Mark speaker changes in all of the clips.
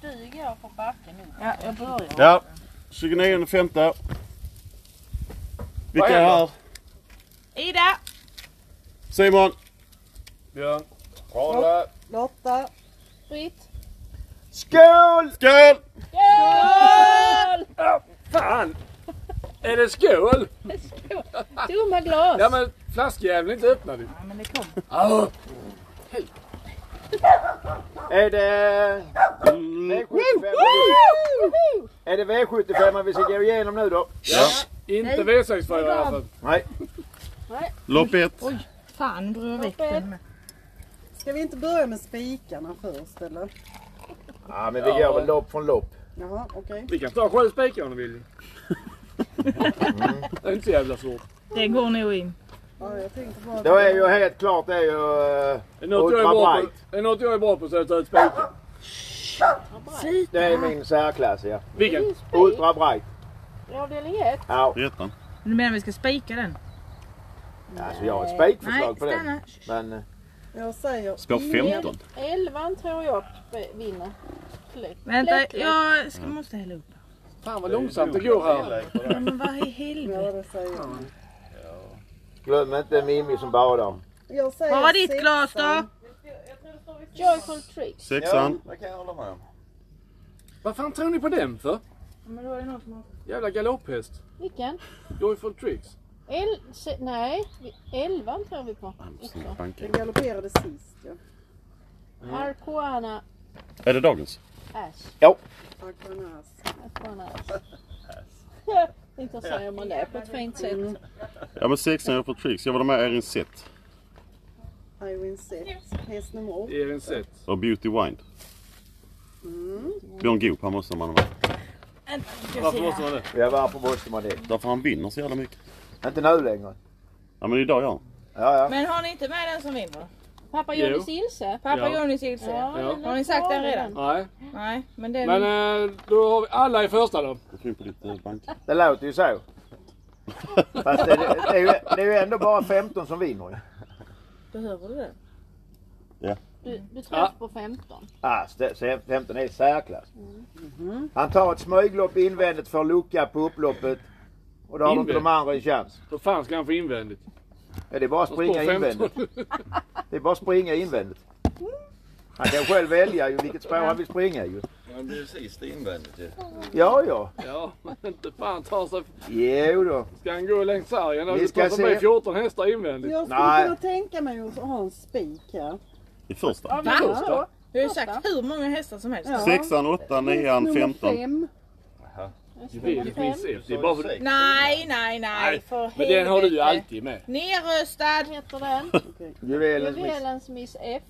Speaker 1: smyger jag från backen nu.
Speaker 2: Ja, jag börjar.
Speaker 3: Ja, 29 femte. Vilka är här?
Speaker 1: Ida!
Speaker 3: Simon,
Speaker 4: Björn. Karla.
Speaker 2: Lotta.
Speaker 1: Britt!
Speaker 4: Skål!
Speaker 3: skål!
Speaker 1: Skål!
Speaker 4: Fan! Är det skål?
Speaker 1: Tomma glas!
Speaker 4: Ja men flaskjäveln är inte öppnad ju.
Speaker 2: Ja, men det kom.
Speaker 4: Au! Är det Mm. V75 är det V75 vi ska gå igenom nu då? Ja. Inte V64 i alla fall. Nej.
Speaker 3: Lopp ett.
Speaker 2: Fan, drog jag väck den med.
Speaker 5: Ska vi inte börja med spikarna först eller?
Speaker 4: Ja men vi går väl lopp från lopp.
Speaker 5: Jaha, okej.
Speaker 4: Vi kan ta sju spikar om du vill. Det är inte så jävla svårt.
Speaker 2: Det går nog in.
Speaker 5: Ja, jag tänkte bara...
Speaker 4: Då är ju helt klart det är ju eh,
Speaker 6: Det är något jag är
Speaker 4: Ultra
Speaker 6: bra på-
Speaker 4: Bright.
Speaker 6: det är något jag är bra på så är det att ta ut spiken.
Speaker 4: Det är min särklass ja.
Speaker 6: Vilken?
Speaker 4: Ultra bright.
Speaker 1: I avdelning 1.
Speaker 4: Ja.
Speaker 3: Ettan.
Speaker 2: Du menar vi ska spika den?
Speaker 4: Alltså jag har ett spikförslag
Speaker 2: Nej,
Speaker 4: på den.
Speaker 2: stanna.
Speaker 4: Men eh,
Speaker 5: Jag säger...
Speaker 3: Spår 15.
Speaker 1: 11 tror jag sp- vinner. Klä-
Speaker 2: Vänta,
Speaker 1: Kläckligt.
Speaker 2: jag
Speaker 6: Mm.
Speaker 2: ska, måste hälla upp.
Speaker 6: Fan vad långsamt det går här.
Speaker 2: Ja, Men vad i helvete?
Speaker 5: Ja, det säger jag.
Speaker 4: glöm inte Mimmi som badar.
Speaker 5: Jag säger
Speaker 2: Vad var ditt
Speaker 5: sexan.
Speaker 2: glas då?
Speaker 1: Joyful Tricks.
Speaker 3: Sexan.
Speaker 4: det kan jag hålla med om.
Speaker 6: Vad fan tror ni på den för?
Speaker 2: Men då är det någon som har...
Speaker 6: Jävla galopphäst.
Speaker 1: Vilken?
Speaker 6: Joyful tricks.
Speaker 1: El, se, nej, 11 tror vi
Speaker 3: Ah,
Speaker 1: på.
Speaker 6: Alltså.
Speaker 1: också.
Speaker 3: Banken.
Speaker 5: Den galopperade sist ja.
Speaker 1: Arcoana
Speaker 3: Är det dagens?
Speaker 1: Ash.
Speaker 5: Arkanas.
Speaker 1: Arcoana Ash. Inte säger man det på ett fint
Speaker 6: Mm.
Speaker 1: sätt.
Speaker 3: Ja men sexan jag får tricks. Jag var med Erin Sett
Speaker 5: Irene Set. Häst nummer åtta.
Speaker 6: Erin Seth.
Speaker 3: och Beauty Wind. Björn Goop, han måste man ha med.
Speaker 6: Varför måste man det?
Speaker 4: Ja varför måste man det?
Speaker 3: Därför han vinner så jävla mycket.
Speaker 4: Inte nu längre.
Speaker 3: Ja men idag ja.
Speaker 4: Ja ja.
Speaker 2: Men har ni inte med den som vinner?
Speaker 1: Pappa
Speaker 6: Jo.
Speaker 1: Johnny Silse.
Speaker 2: Pappa
Speaker 6: Ja.
Speaker 2: Johnnys Ilse?
Speaker 6: Ja.
Speaker 2: Har ni sagt den redan?
Speaker 6: Nej.
Speaker 2: Nej, men den...
Speaker 6: Men eh, då har vi alla i första då.
Speaker 3: Jag tror in på ditt eh, bank.
Speaker 4: Det låter ju så. Fast det, det, är ju, det är ju ändå bara 15 som vinner ju.
Speaker 2: Behöver du den?
Speaker 1: Du, du tror
Speaker 6: Ja.
Speaker 1: på 15.
Speaker 4: Ah, st- så 15 är särklass. Han tar ett smyglopp invändigt för lucka på upploppet. Och då har inte de
Speaker 6: Invändigt?
Speaker 4: andra en chans.
Speaker 6: Hur fan ska han få invändigt?
Speaker 4: Ja, det är bara att
Speaker 6: Han
Speaker 4: springa
Speaker 6: spår 15.
Speaker 4: invändigt. Det är bara att springa invändigt. Han kan själv välja ju vilket spår han vill springa ju.
Speaker 7: Men precis, det är invändigt ju.
Speaker 4: Ja, ja.
Speaker 6: Ja, men inte fan tar sig...
Speaker 4: Jo då.
Speaker 6: Ska han gå längs sargen och
Speaker 4: Vi
Speaker 6: du
Speaker 4: ska
Speaker 6: tar sig med
Speaker 4: se.
Speaker 6: 14 hästar invändigt?
Speaker 5: Jag skulle
Speaker 4: Nej.
Speaker 5: kunna tänka mig att ha en spik här.
Speaker 3: I första.
Speaker 1: Ja, men då.
Speaker 2: Du har ju sagt hur många hästar som helst.
Speaker 5: Ja.
Speaker 3: Sexan, åttan, nian,
Speaker 5: Nummer
Speaker 3: femton.
Speaker 5: fem.
Speaker 6: Det är inte min Seth. Det är bara för...
Speaker 7: Sex.
Speaker 2: Nej, nej, nej. För
Speaker 6: Men den har du ju
Speaker 2: helvete.
Speaker 6: alltid med.
Speaker 2: Nerröstad.
Speaker 1: heter den?
Speaker 4: Juvelens miss.
Speaker 1: Juvelens Miss F.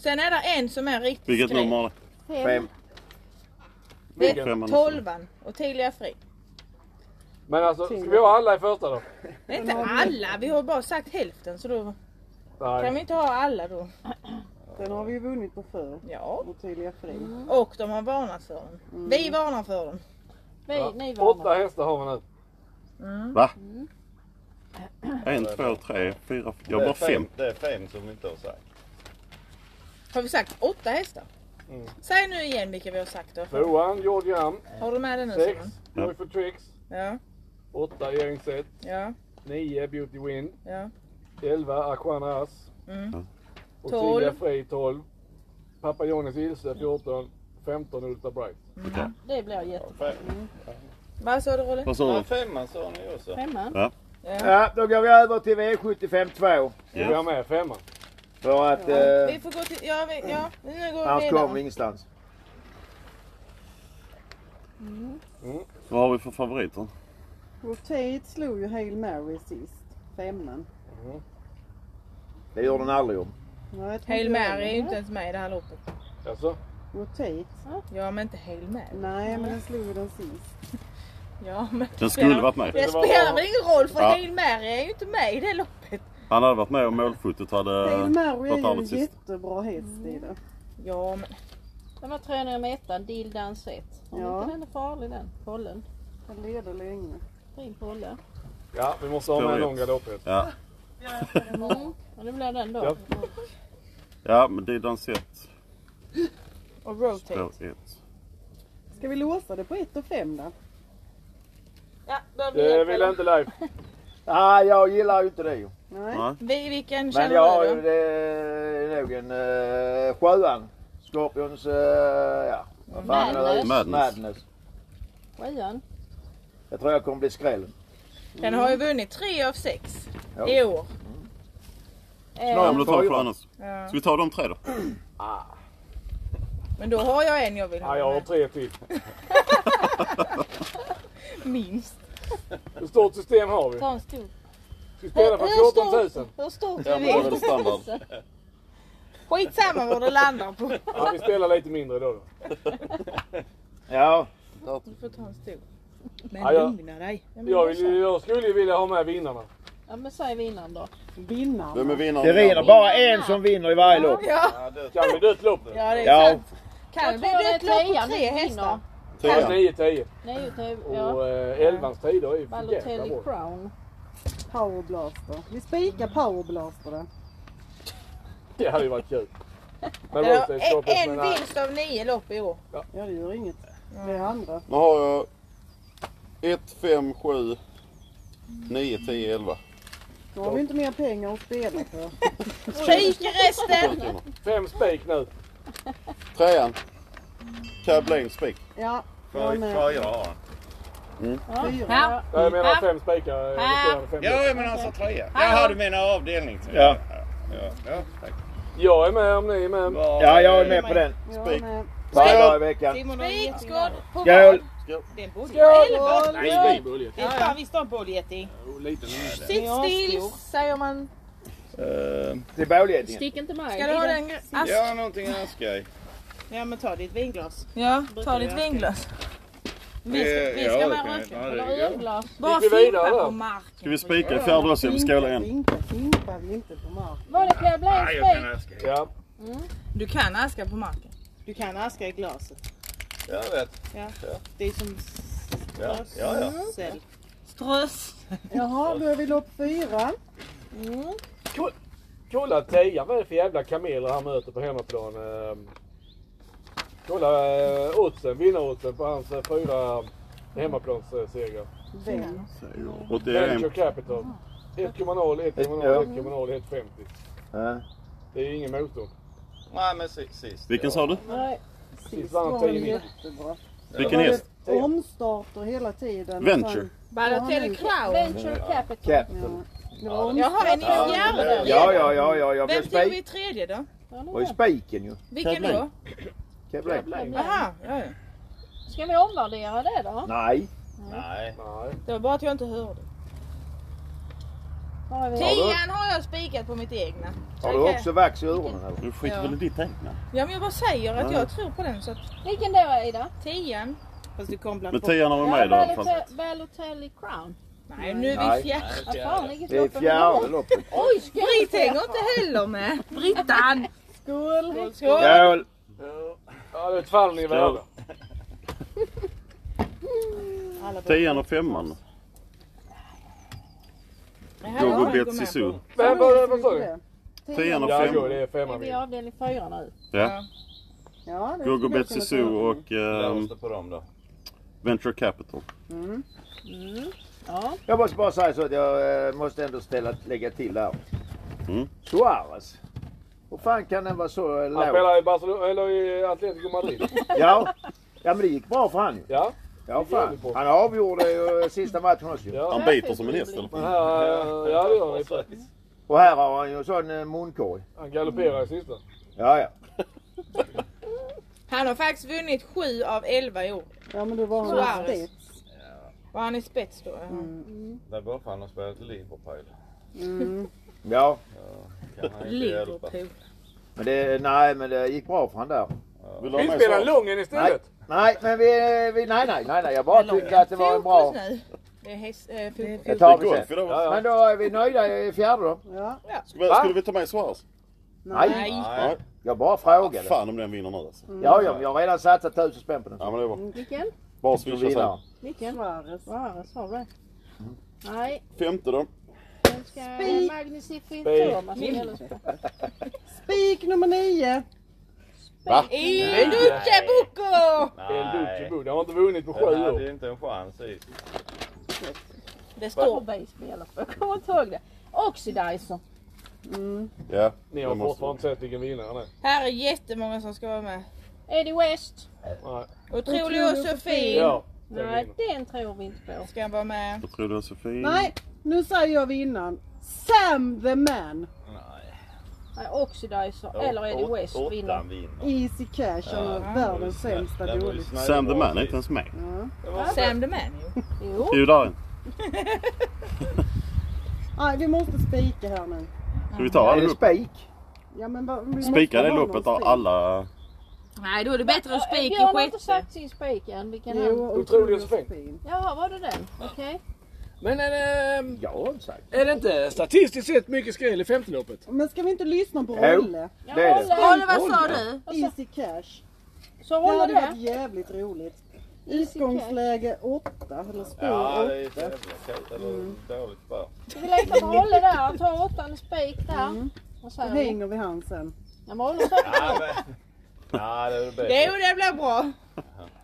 Speaker 2: Sen är det en som är riktigt
Speaker 3: Vilket
Speaker 2: skräck.
Speaker 3: nummer har det?
Speaker 4: Fem.
Speaker 2: Det
Speaker 3: Vilken?
Speaker 2: är tolvan. Och Tilia Fri.
Speaker 6: Men alltså, ska vi ha alla i första då?
Speaker 2: Det är inte alla. Vi har bara sagt hälften. Så då kan vi
Speaker 6: Nej.
Speaker 2: inte ha alla då.
Speaker 5: Den har vi ju vunnit på förr.
Speaker 2: Ja.
Speaker 5: Ottilia Fri.
Speaker 2: Och de har varnat för den. Vi varnar för den.
Speaker 1: Nej, nej,
Speaker 6: Åtta
Speaker 1: vad
Speaker 6: hästar har vi nu.
Speaker 3: Va? En, två, tre, fyra, f- jag har bara
Speaker 7: Det är
Speaker 3: fem.
Speaker 7: Det är fem som vi inte har sagt.
Speaker 2: Har vi sagt åtta hästar? Säg nu igen vilka vi har sagt då.
Speaker 6: Tvåan, George Am.
Speaker 2: Har du med den nu
Speaker 6: Sex,
Speaker 2: Simon?
Speaker 3: Ja.
Speaker 6: Joyful Tricks.
Speaker 2: Ja,
Speaker 6: Åtta, Erin Seth.
Speaker 2: ja,
Speaker 6: Nio, Beauty Win.
Speaker 2: ja.
Speaker 6: 11 Aquana Ass.
Speaker 2: Mm.
Speaker 6: Och
Speaker 2: Tolv.
Speaker 6: Silja Frey 12. Pappa Johnny's Ilse 14. 15 Ultra Bright.
Speaker 1: det blir jättebra.
Speaker 7: Fem.
Speaker 2: Mm. Vad sa du Rolle?
Speaker 3: Vad sa
Speaker 7: Ja,
Speaker 3: du?
Speaker 7: femman sa ni också.
Speaker 1: Femman.
Speaker 2: Ja.
Speaker 4: Ja, då går vi över till V75 2.
Speaker 6: Yes. Vi har med femman.
Speaker 4: För att
Speaker 2: Vi
Speaker 4: eh,
Speaker 2: får gå till... Ja, vi, ja. nu går vi
Speaker 4: annars kommer vi
Speaker 2: vidare.
Speaker 4: ingenstans.
Speaker 3: Vad har vi för favoriter?
Speaker 5: Rotate slog ju Hail Mary sist. Femman.
Speaker 4: Det gör den aldrig om.
Speaker 5: Ja, jag tror
Speaker 2: Hail
Speaker 5: inte jag
Speaker 2: Mary är
Speaker 5: gör
Speaker 2: ju
Speaker 5: det.
Speaker 2: inte ens med i det här loppet.
Speaker 6: Alltså,
Speaker 5: Rotate.
Speaker 2: Ja, men inte Hail Mary.
Speaker 5: Nej, men den slog ju den sist.
Speaker 2: Ja, men...
Speaker 3: Den skulle
Speaker 2: Ja.
Speaker 3: varit med.
Speaker 2: Det spelar väl ingen roll för
Speaker 3: Ja.
Speaker 2: Hail Mary är ju inte med i det loppet.
Speaker 3: Han hade varit med om målfotot hade
Speaker 5: Hail Mary
Speaker 3: varit
Speaker 5: är ju en
Speaker 3: arvet Eh, sist.
Speaker 5: jättebra häst i
Speaker 8: Mm.
Speaker 5: det.
Speaker 2: Ja, men...
Speaker 1: Den var 300 meter, Dill Dance 1. Om
Speaker 5: Ja.
Speaker 1: inte den är farlig den. Pollen.
Speaker 5: Den leder länge.
Speaker 1: Fin pollen.
Speaker 6: ja, vi måste ha med en
Speaker 3: Två
Speaker 6: lång
Speaker 3: rätt.
Speaker 6: galopphäst.
Speaker 3: Ja.
Speaker 1: Mm. Ja, det blir den då.
Speaker 6: Ja.
Speaker 3: ja, men det är den sett.
Speaker 2: Och rotate.
Speaker 3: Spår 1.
Speaker 5: Ska vi låsa det på 1 och 5 då?
Speaker 2: Ja, då
Speaker 6: Eh,
Speaker 2: blir
Speaker 4: Det
Speaker 2: det
Speaker 4: vill
Speaker 2: väl-
Speaker 4: jag inte Leif. Nej, Ah, jag gillar ju inte det ju.
Speaker 5: Nej.
Speaker 3: Nej.
Speaker 2: Vi, vilken
Speaker 4: Men
Speaker 2: känner
Speaker 4: jag har
Speaker 2: jag,
Speaker 4: ju
Speaker 2: du då?
Speaker 4: det är nog en eh, sjuan. Scorpions, eh, ja. Vad fan är det?
Speaker 3: Madness.
Speaker 4: Madness.
Speaker 1: Sjuan.
Speaker 4: Jag tror jag kommer bli skrällen.
Speaker 2: Den har ju vunnit tre av sex
Speaker 4: Ja.
Speaker 2: i år.
Speaker 3: Ja,
Speaker 2: Eh,
Speaker 3: men då tar vi på annars.
Speaker 2: ja.
Speaker 3: Ska vi ta de tre då?
Speaker 2: Men då har jag en jag vill
Speaker 6: Ja, jag
Speaker 2: ha
Speaker 6: har
Speaker 2: med.
Speaker 6: tre till.
Speaker 2: Minst.
Speaker 6: Hur stort system har vi?
Speaker 1: Ta en stor.
Speaker 6: Ska spela för 14 000.
Speaker 1: Hur stort
Speaker 7: Ja,
Speaker 1: är
Speaker 7: men det är väl
Speaker 1: det?
Speaker 7: standard.
Speaker 2: Skitsamma vad det landar på.
Speaker 6: Ja, vi spelar lite mindre då. då.
Speaker 4: Ja.
Speaker 2: Du får ta en stor. Men
Speaker 6: Ja, jag-
Speaker 2: lugna dig.
Speaker 6: Jag, vill, ju- jag skulle ju vilja ha med vinnarna.
Speaker 1: Ja men säg vinnaren då.
Speaker 5: Vinnarna.
Speaker 3: Vem är vinnaren?
Speaker 4: Det rinner bara en som vinner i varje lopp.
Speaker 2: Ja,
Speaker 7: Ja, det
Speaker 6: Kan vi dött lopp?
Speaker 2: ja det är
Speaker 4: Ja.
Speaker 2: sant. Kan det
Speaker 1: Jag
Speaker 2: bli
Speaker 1: tror det är
Speaker 2: ett lopp
Speaker 1: trean
Speaker 2: på tre
Speaker 1: som vinner.
Speaker 2: hästar?
Speaker 6: Fast
Speaker 3: Trean.
Speaker 6: 9-10.
Speaker 1: Nej, nej, ja.
Speaker 6: Och eh, elvans tider är ju för jävla
Speaker 1: Balotelli
Speaker 6: bra.
Speaker 1: Crown.
Speaker 5: Powerblaster. Vi spikar powerblaster där.
Speaker 6: Det hade ju varit kul. Men
Speaker 2: Ja,
Speaker 6: Rotate
Speaker 2: en-
Speaker 6: Scorpions
Speaker 2: en
Speaker 6: men nej.
Speaker 2: vinst av nio lopp i år.
Speaker 5: Ja det gör inget. Det är andra.
Speaker 3: Nu har jag 1, 5, 7, 9, 10, 11.
Speaker 5: Då har vi inte mer pengar att spela för.
Speaker 2: Spik resten!
Speaker 6: Fem spik nu.
Speaker 3: Trean. Cablain Spik.
Speaker 5: Ja,
Speaker 7: får
Speaker 5: jag med.
Speaker 7: får jag ha.
Speaker 5: fyra.
Speaker 1: Ja.
Speaker 6: Nej, Jag menar fem spikar. eh, resterande Fem lopp.
Speaker 7: Ja, men alltså trea. Jaha, du menar avdelning tre.
Speaker 4: Ja.
Speaker 7: Ja, ja, tack.
Speaker 6: Jag är med om ni är med.
Speaker 7: Var-
Speaker 4: Ja, jag är med på den.
Speaker 5: Jag med.
Speaker 4: Varje dag i veckan.
Speaker 2: Simon har en Skål! På
Speaker 4: Skål!
Speaker 2: Den
Speaker 6: Skål!
Speaker 2: Nej,
Speaker 7: Nej,
Speaker 2: Det är fan visst en bollgeting. Sitt still, säger man.
Speaker 7: Eh,
Speaker 4: Till bålgetingen.
Speaker 1: Stick inte mig.
Speaker 2: Ska du ha den? Ask?
Speaker 7: Ja, någonting jag ska i.
Speaker 8: Ja men ta ditt vinglas.
Speaker 2: Ja, ta ditt vinglas. Vi ska, vi ska med röka.
Speaker 1: Eller ölglas.
Speaker 2: Bara
Speaker 6: Eh, Gick vi vidare,
Speaker 2: fimpa på
Speaker 6: eller?
Speaker 3: Ska
Speaker 2: marken.
Speaker 3: vi spika fjärde också eller skåla igen?
Speaker 5: Vinka, vinka, vinka på mark.
Speaker 1: Var det kan jag bli
Speaker 7: Nej, jag kan
Speaker 1: en
Speaker 7: aska i.
Speaker 6: Ja,
Speaker 2: Du kan aska på marken.
Speaker 8: Du kan aska i glaset.
Speaker 7: Jag vet.
Speaker 8: Det är som
Speaker 7: Ja, ja, ja.
Speaker 8: strössel.
Speaker 2: Ströss.
Speaker 5: Jaha, då är vi lopp fyra.
Speaker 6: kolla Teja. Vad är det för jävla kameler han möter på hemmaplan? Eh, Kolla eh, oddsen, vinnaroddsen på hans eh, fyra hemmaplanssegrar.
Speaker 5: Vem?
Speaker 3: 81.
Speaker 6: Venture Capital. 1,0, 1,0, 1,0, 1,50.
Speaker 4: Ja.
Speaker 6: Det är ingen motstånd.
Speaker 7: Nej, men si- sist.
Speaker 3: Vilken
Speaker 7: ja.
Speaker 3: sa du?
Speaker 5: Nej,
Speaker 6: Precis,
Speaker 5: sist
Speaker 6: vann
Speaker 5: var det
Speaker 6: tidning.
Speaker 5: jättebra.
Speaker 3: Vilken häst?
Speaker 5: Var det Omstarter hela tiden.
Speaker 3: Venture.
Speaker 2: Balotelli Crown.
Speaker 1: Venture Capital.
Speaker 4: Capital.
Speaker 5: Det var omstarter.
Speaker 7: Mm.
Speaker 2: Jaha, är ni
Speaker 7: Ja,
Speaker 2: fjärde?
Speaker 4: Ja, ja, ja, ja. Jag blev
Speaker 2: Vem tog vi i
Speaker 4: spik.
Speaker 2: tredje då?
Speaker 4: Och i spiken ju.
Speaker 2: Vilken då?
Speaker 4: Cablain.
Speaker 2: Jaha, ja, ja.
Speaker 1: Ska vi omvärdera det då?
Speaker 4: Nej.
Speaker 7: Nej.
Speaker 6: Nej.
Speaker 2: det var bara att jag inte hörde.
Speaker 1: Var är vi?
Speaker 2: Tian har jag spikat på mitt egna.
Speaker 4: Har du också vax i öronen eller?
Speaker 3: Du skiter
Speaker 2: Ja.
Speaker 3: väl i ditt egna?
Speaker 2: Ja men jag bara säger att jag tror på den så att
Speaker 1: Vilken då Ida?
Speaker 2: tian.
Speaker 8: Fast du kom
Speaker 3: Men
Speaker 8: bland
Speaker 3: tian har vi med i alla fall.
Speaker 1: Balotelli- Balotelli Crown.
Speaker 2: Nej nu är vi
Speaker 4: Nej.
Speaker 2: fjärde.
Speaker 1: Vad fan, vilket
Speaker 4: Det är
Speaker 1: lopp är det
Speaker 4: fjärde
Speaker 1: då?
Speaker 4: loppet.
Speaker 1: Oj, ska
Speaker 2: Britt hänger inte heller med. Brittan!
Speaker 5: Skål!
Speaker 2: Skål!
Speaker 4: Skål!
Speaker 6: Ja, det är ett fall ni är värda.
Speaker 3: Tian och femman. Gogo Betsy Zoo.
Speaker 6: Vem var det? Vad sa du?
Speaker 3: Tian och
Speaker 6: Ja, jo, det
Speaker 3: femman.
Speaker 6: är
Speaker 1: är
Speaker 6: femman.
Speaker 1: vi
Speaker 6: min.
Speaker 1: i avdelning fyra nu?
Speaker 3: Ja.
Speaker 5: Ja, det
Speaker 3: Gogo
Speaker 5: skulle jag
Speaker 3: Betsy
Speaker 5: kunna ta.
Speaker 3: Zoo och
Speaker 7: Jag
Speaker 3: ehm,
Speaker 7: måste på dem då.
Speaker 3: Venture Capital.
Speaker 1: Ja.
Speaker 4: Jag måste bara säga så att jag eh, måste ändå ställa, lägga till där.
Speaker 3: Mm.
Speaker 4: Suarez. Hur fan kan den vara så eh,
Speaker 6: Han
Speaker 4: låg?
Speaker 6: spelar i Barcelona, eller i Atletico Madrid.
Speaker 4: Ja. ja, men det gick bra för han ju.
Speaker 6: Ja,
Speaker 4: Ja,
Speaker 6: Det gör det
Speaker 4: fan.
Speaker 6: på.
Speaker 4: Han avgjorde ju eh, sista matchen också ju.
Speaker 6: ja.
Speaker 3: Han biter som en häst eller?
Speaker 6: Men här, eh, ja det gör han i och för sig.
Speaker 4: Och här har han ju en sån eh, munkorg.
Speaker 6: Han galopperar i sista.
Speaker 4: Ja, ja.
Speaker 2: Han har faktiskt vunnit 7 av 11 i år.
Speaker 5: Ja, men du var han
Speaker 2: Suarez.
Speaker 5: spets.
Speaker 2: Och han är spets då. Mm. ja.
Speaker 7: Där borta han har spelat i Liverpool.
Speaker 4: Ja,
Speaker 7: Kan han inte hjälpa.
Speaker 2: Liverpool.
Speaker 4: men det, nej, men det gick bra för han där.
Speaker 3: Vill du ha
Speaker 6: Vi
Speaker 3: med
Speaker 6: spelar
Speaker 3: Sara?
Speaker 6: Lungen istället.
Speaker 4: Nej, men vi, vi nej, nej, nej, nej. Jag bara tyckte att det var en bra.
Speaker 2: Fokus nu. Det är häst, eh, fotboll.
Speaker 4: Det
Speaker 3: Det
Speaker 4: tar
Speaker 3: är
Speaker 4: vi
Speaker 3: golf
Speaker 4: sen.
Speaker 3: idag va?
Speaker 6: Ja, ja.
Speaker 4: Men då är vi nöjda i fjärde då?
Speaker 5: Ja.
Speaker 3: Skulle skulle vi ta med Suarez?
Speaker 4: Nej,
Speaker 2: Nej.
Speaker 7: Nej.
Speaker 3: Nej.
Speaker 4: jag bara frågade.
Speaker 3: Ah, Fan om den vinner nu alltså.
Speaker 4: Ja, ja, men jag har redan satsat tusen spänn på den.
Speaker 3: Ja men det är bra.
Speaker 1: Vilken?
Speaker 3: Bara
Speaker 4: Som
Speaker 3: swisha
Speaker 4: vinnare.
Speaker 3: sen.
Speaker 1: Vilken?
Speaker 5: Suarez.
Speaker 1: Suarez har det. Nej,
Speaker 3: Femte då.
Speaker 1: den ska
Speaker 5: Spik.
Speaker 1: Magnific
Speaker 6: Spik.
Speaker 1: Thomas.
Speaker 5: Spik nummer nio.
Speaker 3: Va?
Speaker 2: I
Speaker 7: Nej.
Speaker 2: Duce Bucco!
Speaker 6: El Duce
Speaker 7: Nej.
Speaker 6: Bo. De har inte vunnit på
Speaker 7: Den
Speaker 6: sju
Speaker 7: hade
Speaker 6: år.
Speaker 7: ju inte en chans sist.
Speaker 2: Det står baseball i alla fall. Jag kommer inte ihåg det. Oxidizer.
Speaker 3: Ja.
Speaker 6: Ni har
Speaker 3: det måste
Speaker 6: fortfarande inte sett vilken vinnare det är.
Speaker 2: Här är jättemånga som ska vara med.
Speaker 1: Eddie West.
Speaker 6: Nej.
Speaker 2: Otrolig och så fin.
Speaker 6: Ja. den
Speaker 1: Nej,
Speaker 6: vinner.
Speaker 1: den tror vi inte på.
Speaker 2: Ska han vara med?
Speaker 3: Jag tror det var Sofie.
Speaker 5: Nej, nu säger jag vinnaren. Sam the man.
Speaker 7: Nej.
Speaker 1: Nej, Oxidizer eller Eddie West
Speaker 7: Åt-
Speaker 1: vinner.
Speaker 7: Åttan vinner. Ah.
Speaker 5: Easy cash. Han har världens sämsta
Speaker 7: Den var ju
Speaker 5: dåligt.
Speaker 7: snäll
Speaker 3: Sam the
Speaker 7: bra
Speaker 3: Man är inte
Speaker 7: sist.
Speaker 3: ens med.
Speaker 5: Ja.
Speaker 2: Sam the Man ju.
Speaker 1: Jo,
Speaker 3: Jo, där är den.
Speaker 5: Nej, vi måste spika här nu.
Speaker 3: Ska vi ta alla lopp?
Speaker 4: spik?
Speaker 5: Ja, men vad- vi måste
Speaker 3: Spika det
Speaker 5: ha någon
Speaker 3: loppet där
Speaker 5: spik.
Speaker 3: alla...
Speaker 2: Nej då är det bättre att spika
Speaker 1: Björn har
Speaker 2: i
Speaker 1: inte
Speaker 2: sjätte.
Speaker 1: sagt sin spik än. Vilken han...
Speaker 5: Jo,
Speaker 6: Otrolig
Speaker 5: otrolig
Speaker 6: Josefin.
Speaker 5: Josefin.
Speaker 1: Jaha, var det den? Okej.
Speaker 6: Men är det,
Speaker 4: Jag har inte sagt.
Speaker 6: är det inte statistiskt sett mycket skräll i femteloppet?
Speaker 5: Men ska vi inte lyssna på
Speaker 4: Jo.
Speaker 5: Rolle?
Speaker 1: Ja,
Speaker 4: Det är det.
Speaker 1: Rolle.
Speaker 2: Oliver vad sa du?
Speaker 5: Easy cash.
Speaker 1: Så
Speaker 5: Det
Speaker 1: Alltså, håller
Speaker 5: hade varit
Speaker 1: det.
Speaker 5: jävligt roligt.
Speaker 1: Easy cash.
Speaker 5: Utgångsläge 8 eller
Speaker 7: Ja,
Speaker 5: spår
Speaker 7: det är
Speaker 5: 8.
Speaker 7: jävla kul. Eller dåligt spår.
Speaker 1: Vi letar på Rolle där. Han tar åttan spik där. Vad
Speaker 5: Då
Speaker 1: säger ni?
Speaker 5: hänger vi han sen.
Speaker 1: Ja, men Rolle sa-
Speaker 7: Nej, men... Nej, det är väl bättre.
Speaker 2: Jo det blir bra.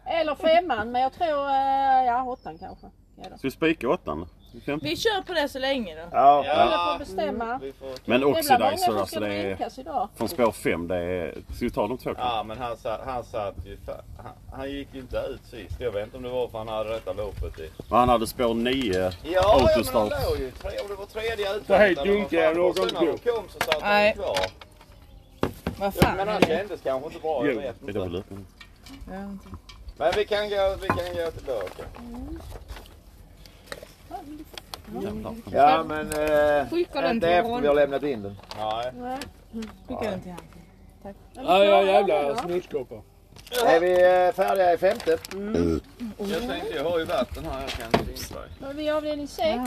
Speaker 1: Eller femman, men jag tror... eh, Ja, åttan kanske.
Speaker 3: Ska vi spika åttan? Femte?
Speaker 2: Vi kör på det så länge då.
Speaker 3: Ja.
Speaker 1: Rolle
Speaker 3: ja.
Speaker 1: får bestämma.
Speaker 7: Vi får...
Speaker 3: Men
Speaker 1: Det blir många
Speaker 3: Oxidizer
Speaker 1: som
Speaker 3: alltså
Speaker 1: ska
Speaker 3: det är...
Speaker 1: dränkas idag.
Speaker 3: Från spår 5 det är... Ska vi ta de två kanske?
Speaker 7: Ja, men han satt, han satt ju... fa- Han, han gick ju inte ut sist. Jag vet inte om det var för han hade detta loppet i.
Speaker 3: Men Han hade spår 9.
Speaker 7: Ja, ja men
Speaker 3: Autostart.
Speaker 7: han låg ju tre, om det var tredje utvändigt.
Speaker 6: Så hej,
Speaker 7: eller vad
Speaker 6: Junker,
Speaker 7: fan.
Speaker 6: jag
Speaker 7: Och sen
Speaker 6: åker
Speaker 7: när de
Speaker 6: inte
Speaker 7: kom så satt han ju
Speaker 2: Nej.
Speaker 7: kvar.
Speaker 2: Vad
Speaker 7: Ja, men
Speaker 2: fan
Speaker 7: han
Speaker 2: är det?
Speaker 7: kändes kanske inte bra, jag vet
Speaker 3: Det är
Speaker 7: inte.
Speaker 3: väl öppet.
Speaker 7: Men vi kan gå, vi kan gå tillbaka.
Speaker 3: Jävlar.
Speaker 4: Ja men... Eh,
Speaker 2: Skicka den
Speaker 4: inte
Speaker 2: till
Speaker 4: efter vi har
Speaker 2: Ron.
Speaker 4: lämnat in den.
Speaker 7: Nej.
Speaker 1: Nej.
Speaker 2: Skicka den till han.
Speaker 6: Ja, ja jävla snuskkoppar.
Speaker 4: Är vi eh, färdiga i femte?
Speaker 2: Mm.
Speaker 6: Mm.
Speaker 7: Jag tänkte jag har ju vatten här jag kan inte dricka.
Speaker 1: Då är vi i avdelning sex.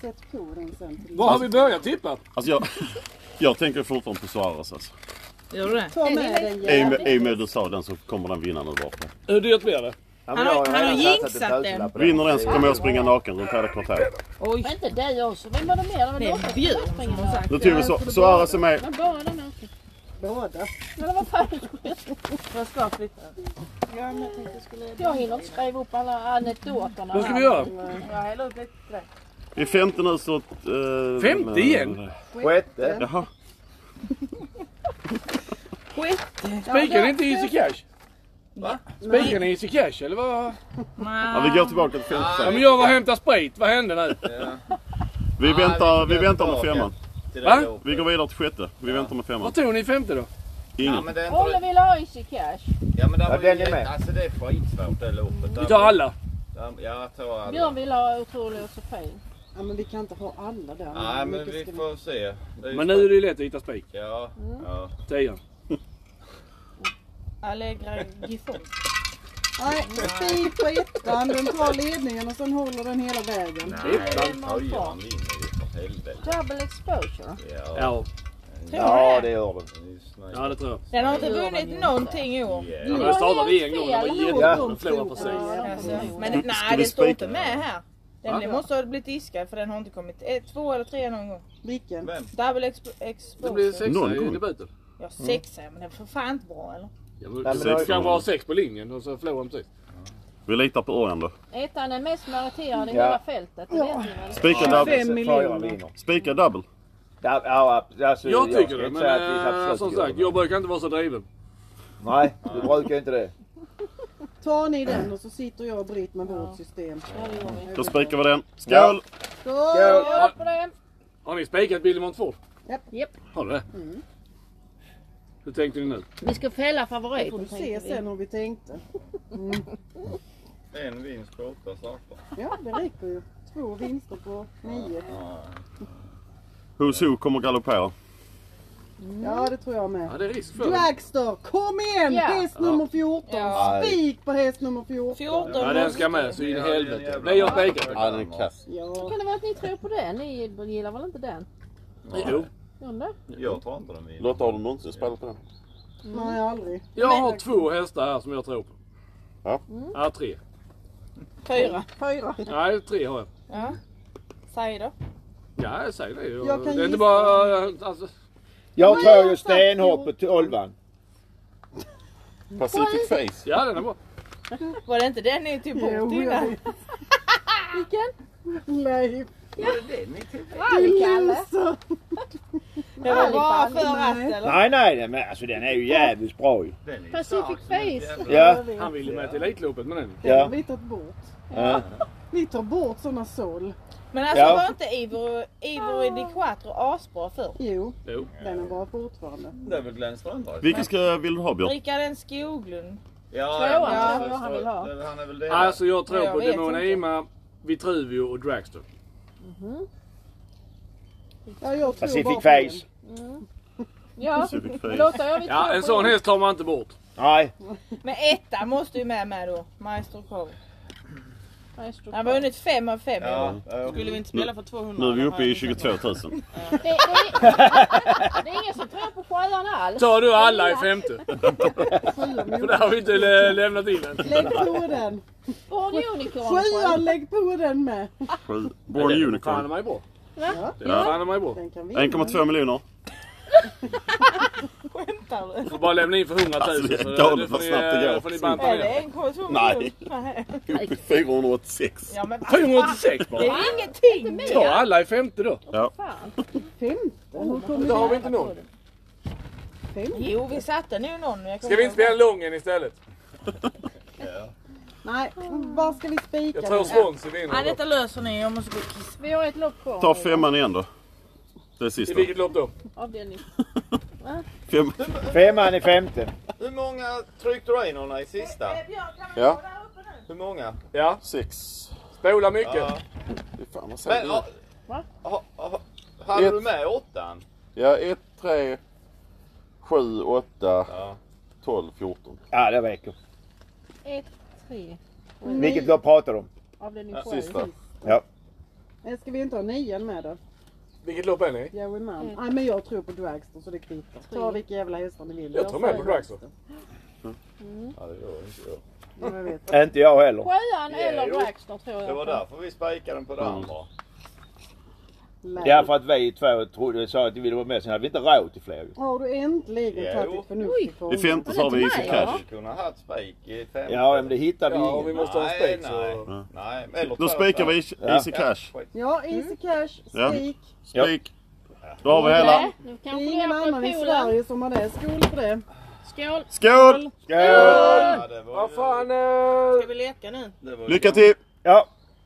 Speaker 5: Sätt på den sen till
Speaker 6: Vad har vi börjat tippa?
Speaker 3: Alltså jag... Jag tänker fortfarande på Suarez alltså.
Speaker 2: Gör du det?
Speaker 5: Ta med den
Speaker 3: I och
Speaker 5: jäveln.
Speaker 3: med- i och med du sa den så kommer den vinna när du var på.
Speaker 6: Hur dyrt blir det?
Speaker 4: Ja,
Speaker 2: Han
Speaker 4: men jag
Speaker 2: har-
Speaker 4: ju
Speaker 2: han har
Speaker 4: redan satsat
Speaker 2: jinxat
Speaker 4: en tusenlapp
Speaker 2: den.
Speaker 4: på
Speaker 3: Vinner den så kommer jag springa naken runt hela kvarteret.
Speaker 1: Men inte dig också. Vem var det mer? Det var
Speaker 2: Det
Speaker 1: Lotta
Speaker 2: är
Speaker 1: som springer
Speaker 2: Björn som har
Speaker 1: där.
Speaker 2: sagt.
Speaker 3: Nu tog vi Su- Suarez är med.
Speaker 1: Men bara den här.
Speaker 5: Båda.
Speaker 1: Men vad fan,
Speaker 2: Vad ska flytta?
Speaker 1: jag hinner inte skriva upp alla anekdoterna.
Speaker 6: Vad ska
Speaker 1: här.
Speaker 6: vi göra?
Speaker 2: Jag häller upp lite.
Speaker 3: Vi är femte nu så... att, eh,
Speaker 6: Femte
Speaker 3: men-
Speaker 6: igen?
Speaker 4: den. Sjätte.
Speaker 3: Jaha.
Speaker 6: Spikar ni inte Easy Cash?
Speaker 2: Va?
Speaker 6: Spikar ni Easy Cash eller vad?
Speaker 3: Ja, vi går tillbaka till femte
Speaker 6: Ja, men
Speaker 3: sen.
Speaker 6: jag var och hämtade sprit. Vad hände nu?
Speaker 3: Vi väntar, vi
Speaker 7: går
Speaker 3: väntar med
Speaker 7: tillbaka
Speaker 3: femman.
Speaker 7: till
Speaker 6: Va?
Speaker 7: det loppet.
Speaker 3: Vi går vidare till sjätte. Vi väntar med femman.
Speaker 6: Vad tog ni i femte då?
Speaker 7: Ja
Speaker 3: Ingen.
Speaker 7: men det är
Speaker 1: Rolle
Speaker 7: inte...
Speaker 1: vill ha Easy Cash.
Speaker 7: Ja men där
Speaker 4: Ja,
Speaker 7: var
Speaker 4: den är
Speaker 7: ju...
Speaker 4: med.
Speaker 7: Alltså det är skitsvårt det loppet.
Speaker 6: Vi tar alla.
Speaker 7: Ja, jag tar alla.
Speaker 1: Björn vill ha otrolig Josefin.
Speaker 5: Ja, men vi kan inte ha alla där.
Speaker 7: Nej
Speaker 5: Hur
Speaker 7: men
Speaker 5: mycket
Speaker 7: vi
Speaker 5: ska
Speaker 7: får se. Det är ju
Speaker 6: Men nu är det ju lätt att hitta spik.
Speaker 7: Ja, ja.
Speaker 6: Tian.
Speaker 2: Allegra Giffon.
Speaker 5: Nej, spik på ettan. Den tar ledningen och sen håller den hela vägen.
Speaker 7: Nej,
Speaker 1: fan
Speaker 7: oj,
Speaker 1: kvar.
Speaker 7: han vinner ju för helvete.
Speaker 1: Double exposure.
Speaker 7: Ja,
Speaker 6: Ja,
Speaker 4: Ja det gör den.
Speaker 7: just
Speaker 6: ja det tror jag.
Speaker 2: Den har inte vunnit någonting i år.
Speaker 7: Yeah.
Speaker 6: Ja, men det startade vi en gång. Den var jättebra. Den förlorade precis.
Speaker 2: Alltså,
Speaker 3: Ska
Speaker 2: men
Speaker 3: vi
Speaker 2: nej, det står
Speaker 3: spika?
Speaker 2: inte med här. Den måste ha blivit diskad för den har inte kommit eh, två eller tre någon gång.
Speaker 5: Vilken?
Speaker 7: Vem?
Speaker 2: Double exp-
Speaker 6: Det blir
Speaker 2: exposure.
Speaker 6: sexa
Speaker 3: Någon
Speaker 6: i
Speaker 3: gång.
Speaker 6: debuten.
Speaker 2: Ja sexa, men den är för fan inte bra eller?
Speaker 6: Ja,
Speaker 4: men
Speaker 6: men det
Speaker 4: det var
Speaker 6: var
Speaker 4: ju-
Speaker 6: kanske ha sex på linjen och så förlorar de precis.
Speaker 3: Vi litar på Örjan då.
Speaker 1: Ettan är mest meriterad i
Speaker 4: Ja.
Speaker 1: hela fältet. Det vet ni väl?
Speaker 3: Spika double.
Speaker 4: Fem miljoner.
Speaker 3: Spika double.
Speaker 4: Ja, ja, alltså,
Speaker 6: Jag
Speaker 4: ska
Speaker 6: tycker det,
Speaker 4: inte
Speaker 6: men
Speaker 4: säga att vi
Speaker 6: eh,
Speaker 4: absolut
Speaker 6: som
Speaker 4: gör det,
Speaker 6: sagt,
Speaker 4: men-
Speaker 6: jag brukar inte vara så driven.
Speaker 4: Nej, du brukar ju inte det.
Speaker 5: Tar ni den och så sitter jag och bryter med vårt system.
Speaker 1: Ja, det gör vi.
Speaker 3: Då spikar vi den. Skål!
Speaker 5: Skål!
Speaker 1: Skål på det.
Speaker 6: Har ni spikat Billy Montfort?
Speaker 5: Japp.
Speaker 1: Japp.
Speaker 6: Har du det? Hur tänkte ni nu?
Speaker 1: Vi ska fälla
Speaker 5: Får du
Speaker 1: favoriten.
Speaker 5: se sen hur vi tänkte.
Speaker 7: En vinst på åtta starter.
Speaker 5: Ja, det räcker ju. Två vinster på nio.
Speaker 3: Who's Who kommer galoppera.
Speaker 5: Ja, det tror jag med.
Speaker 6: Ja, det är risk för det.
Speaker 5: Dragster, kom igen!
Speaker 1: Ja.
Speaker 5: Häst nummer 14.
Speaker 2: Ja.
Speaker 5: Spik på häst nummer 14.
Speaker 2: 14
Speaker 6: Ja, den ska med så in i helvete. Blir jag spikad?
Speaker 3: Ja, den är kass.
Speaker 5: Ja.
Speaker 1: Kan det vara att ni tror på den? Ni gillar väl inte den?
Speaker 6: Jo.
Speaker 1: Undrar.
Speaker 7: Jag tar inte den vinner.
Speaker 3: Lotta, har du någonsin spelat på den?
Speaker 5: Nej, aldrig.
Speaker 6: Jag har två hästar här som jag tror på.
Speaker 3: Ja.
Speaker 6: Ja, tre.
Speaker 2: Fyra. Fyra.
Speaker 6: Nej, tre har jag.
Speaker 2: Ja. Säg då.
Speaker 6: Ja, jag säger det.
Speaker 5: Jag kan
Speaker 6: det är inte
Speaker 5: gissa.
Speaker 6: bara... Alltså,
Speaker 4: Jag
Speaker 5: Men
Speaker 4: tror
Speaker 5: jag
Speaker 4: ju
Speaker 5: har sagt
Speaker 4: stenhårt på tolvan.
Speaker 3: Pacific Face.
Speaker 6: Ja, den är bra.
Speaker 2: Var det inte den ni tog bort
Speaker 5: Jo, jag
Speaker 2: innan?
Speaker 5: vet. Leif.
Speaker 1: Härlig Kalle.
Speaker 2: Det var bara
Speaker 1: Härlig,
Speaker 2: för att eller?
Speaker 4: Nej, nej, nej, men alltså den är ju jävligt bra ju.
Speaker 7: Den är ju stark
Speaker 1: Pacific
Speaker 7: som ett
Speaker 1: Face.
Speaker 7: jävla-
Speaker 4: Ja,
Speaker 6: Han ville med till Elitloppet med den.
Speaker 5: Den har
Speaker 4: ja.
Speaker 5: vi tagit bort.
Speaker 4: ja.
Speaker 5: Vi tar bort sådana sol.
Speaker 2: Men alltså
Speaker 4: Ja.
Speaker 2: var inte Ivo, Ivo di Quattro asbra för?
Speaker 5: Jo,
Speaker 6: Jo.
Speaker 5: den är bra fortfarande.
Speaker 7: Det är väl Glenn Strömberg?
Speaker 3: Vilken ska, vill du ha Björn?
Speaker 2: Rickard en Skoglund.
Speaker 7: Ja,
Speaker 1: Tvåan
Speaker 7: ja,
Speaker 1: tror jag han vill ha.
Speaker 7: det- Han är väl det.
Speaker 6: Alltså jag tror
Speaker 2: Jag
Speaker 6: på
Speaker 2: vet
Speaker 6: Demona
Speaker 2: inte.
Speaker 6: Ima, Vitruvio och Dragster.
Speaker 5: Ja, jag tror bara
Speaker 4: Pacific
Speaker 5: på den.
Speaker 4: Face.
Speaker 1: Ja,
Speaker 3: Pacific Face.
Speaker 1: låter jag vid
Speaker 6: Ja, en sån häst tar man inte bort.
Speaker 4: Nej,
Speaker 2: Men etta måste ju med med då. Maestro Cove.
Speaker 1: Maestro.
Speaker 2: Han har vunnit fem av fem i år.
Speaker 7: Ja, ja.
Speaker 2: Skulle vi inte spela för 200?
Speaker 3: Nu är vi
Speaker 2: eller?
Speaker 3: uppe i 22 000.
Speaker 1: Det, det, är- det är ingen som tror på sjöarna alls.
Speaker 6: Tar du alla i femte? För där har vi inte lä- lämnat in den.
Speaker 5: Lägg på den. Sjuan,
Speaker 1: Bordeauxunicorn.
Speaker 5: lägg på den med.
Speaker 3: Sju. Born
Speaker 6: Fan är
Speaker 3: Unicorn.
Speaker 6: man ju bra.
Speaker 5: Ja,
Speaker 6: Den är fan är man ju bra.
Speaker 5: den kan vi.
Speaker 3: 1,2 miljoner.
Speaker 2: Skämtar du?
Speaker 6: Får bara lämna in för 100 000.
Speaker 3: Alltså, det är
Speaker 6: så
Speaker 3: galet
Speaker 6: får
Speaker 3: vad
Speaker 6: ni,
Speaker 3: snabbt det
Speaker 6: eh,
Speaker 3: går.
Speaker 6: får ni banta
Speaker 2: Är
Speaker 6: ner.
Speaker 2: det 1,2
Speaker 3: Nej.
Speaker 2: Nej.
Speaker 3: Uppe i 486.
Speaker 2: Ja men
Speaker 6: 486
Speaker 2: det
Speaker 6: bara.
Speaker 2: är ingenting.
Speaker 6: Ta alla i femte då.
Speaker 1: Fan.
Speaker 5: Femton, hur kommer
Speaker 6: Då har vi
Speaker 5: det?
Speaker 6: inte någon.
Speaker 5: Femton?
Speaker 2: Jo vi satte nu någon. Jag
Speaker 6: Ska vi inte spela Lången istället?
Speaker 5: Nej, var ska vi spika
Speaker 6: Jag tror
Speaker 5: den?
Speaker 6: Swansea vinner.
Speaker 2: Nej
Speaker 6: då.
Speaker 2: detta löser ni. Jag måste gå och kissa.
Speaker 1: Vi har ett lopp kvar.
Speaker 3: Ta femman igen då. Det är
Speaker 6: I
Speaker 3: sista.
Speaker 6: vilket lopp då?
Speaker 1: Avdelning.
Speaker 3: Fem.
Speaker 4: femman i femte.
Speaker 7: Hur många tryckte Rainorna i sista?
Speaker 3: Ja,
Speaker 7: Hur många?
Speaker 6: Ja,
Speaker 3: sex.
Speaker 6: spola mycket.
Speaker 7: Ja.
Speaker 3: Fy fan vad säger
Speaker 7: Men,
Speaker 3: du?
Speaker 7: ja,
Speaker 1: Va?
Speaker 7: ha, ha, hade
Speaker 3: Ett.
Speaker 7: du med åttan?
Speaker 3: Ja, 1, 3, 7, 8,
Speaker 7: Ja.
Speaker 3: 12, 14.
Speaker 4: Ja, det räcker.
Speaker 1: Ett, tre.
Speaker 4: Vilket lopp pratar du om?
Speaker 1: Avdelning
Speaker 7: Ja,
Speaker 1: sju.
Speaker 3: Sista.
Speaker 4: Ja.
Speaker 5: Nej, Ska vi inte ha nian med då?
Speaker 6: Vilket lopp är ni?
Speaker 5: Joey Mann.
Speaker 1: Mm.
Speaker 5: Nej men jag tror på Dragster så det kvittar. Ta vilka jävla hästar ni vill.
Speaker 6: Jag tar med på Dragster.
Speaker 7: Ja, det gör inte jag.
Speaker 5: Ja, jag vet.
Speaker 4: Inte jag heller.
Speaker 1: Sjöan
Speaker 7: Ja,
Speaker 1: eller
Speaker 7: jo.
Speaker 1: Dragster tror jag.
Speaker 7: Det var
Speaker 1: på.
Speaker 7: därför vi spikade den på det
Speaker 3: Mm.
Speaker 7: andra.
Speaker 5: Nej.
Speaker 4: Ja, för att vi två trodde, sa att vi ville vara med, sen hade vi inte råd till fler ju.
Speaker 5: Har du äntligen
Speaker 7: Ja,
Speaker 5: tagit
Speaker 7: jo.
Speaker 5: ditt förnuft
Speaker 1: Oj.
Speaker 5: till fånga?
Speaker 3: I femte så har vi Easy Cash.
Speaker 7: Vi kunde ha haft spik i fem.
Speaker 4: Ja, men det hittade vi
Speaker 6: Ja, och vi
Speaker 4: ingen.
Speaker 6: måste ha en
Speaker 7: Nej,
Speaker 6: spik så...
Speaker 7: nej. nej. Eller
Speaker 3: Då
Speaker 7: två,
Speaker 3: spikar
Speaker 7: två.
Speaker 3: vi
Speaker 4: Ja.
Speaker 3: Easy Cash.
Speaker 7: Ja, skit.
Speaker 5: Ja, Easy Cash,
Speaker 3: Ja.
Speaker 5: Spik.
Speaker 4: Ja.
Speaker 3: Spik. Då har vi hela.
Speaker 1: Nej, nu
Speaker 5: Det
Speaker 1: kanske
Speaker 5: är
Speaker 1: ni
Speaker 5: ingen
Speaker 1: åker i
Speaker 5: annan i
Speaker 1: poolen.
Speaker 5: Sverige som har det. Skål för det.
Speaker 1: Skål.
Speaker 3: Skål!
Speaker 4: Skål!
Speaker 7: Ja, det var
Speaker 6: Vad
Speaker 7: ju-
Speaker 6: fan... eh,
Speaker 2: Ska vi leka nu?
Speaker 7: det var ju-
Speaker 3: Lycka till!
Speaker 4: Ja,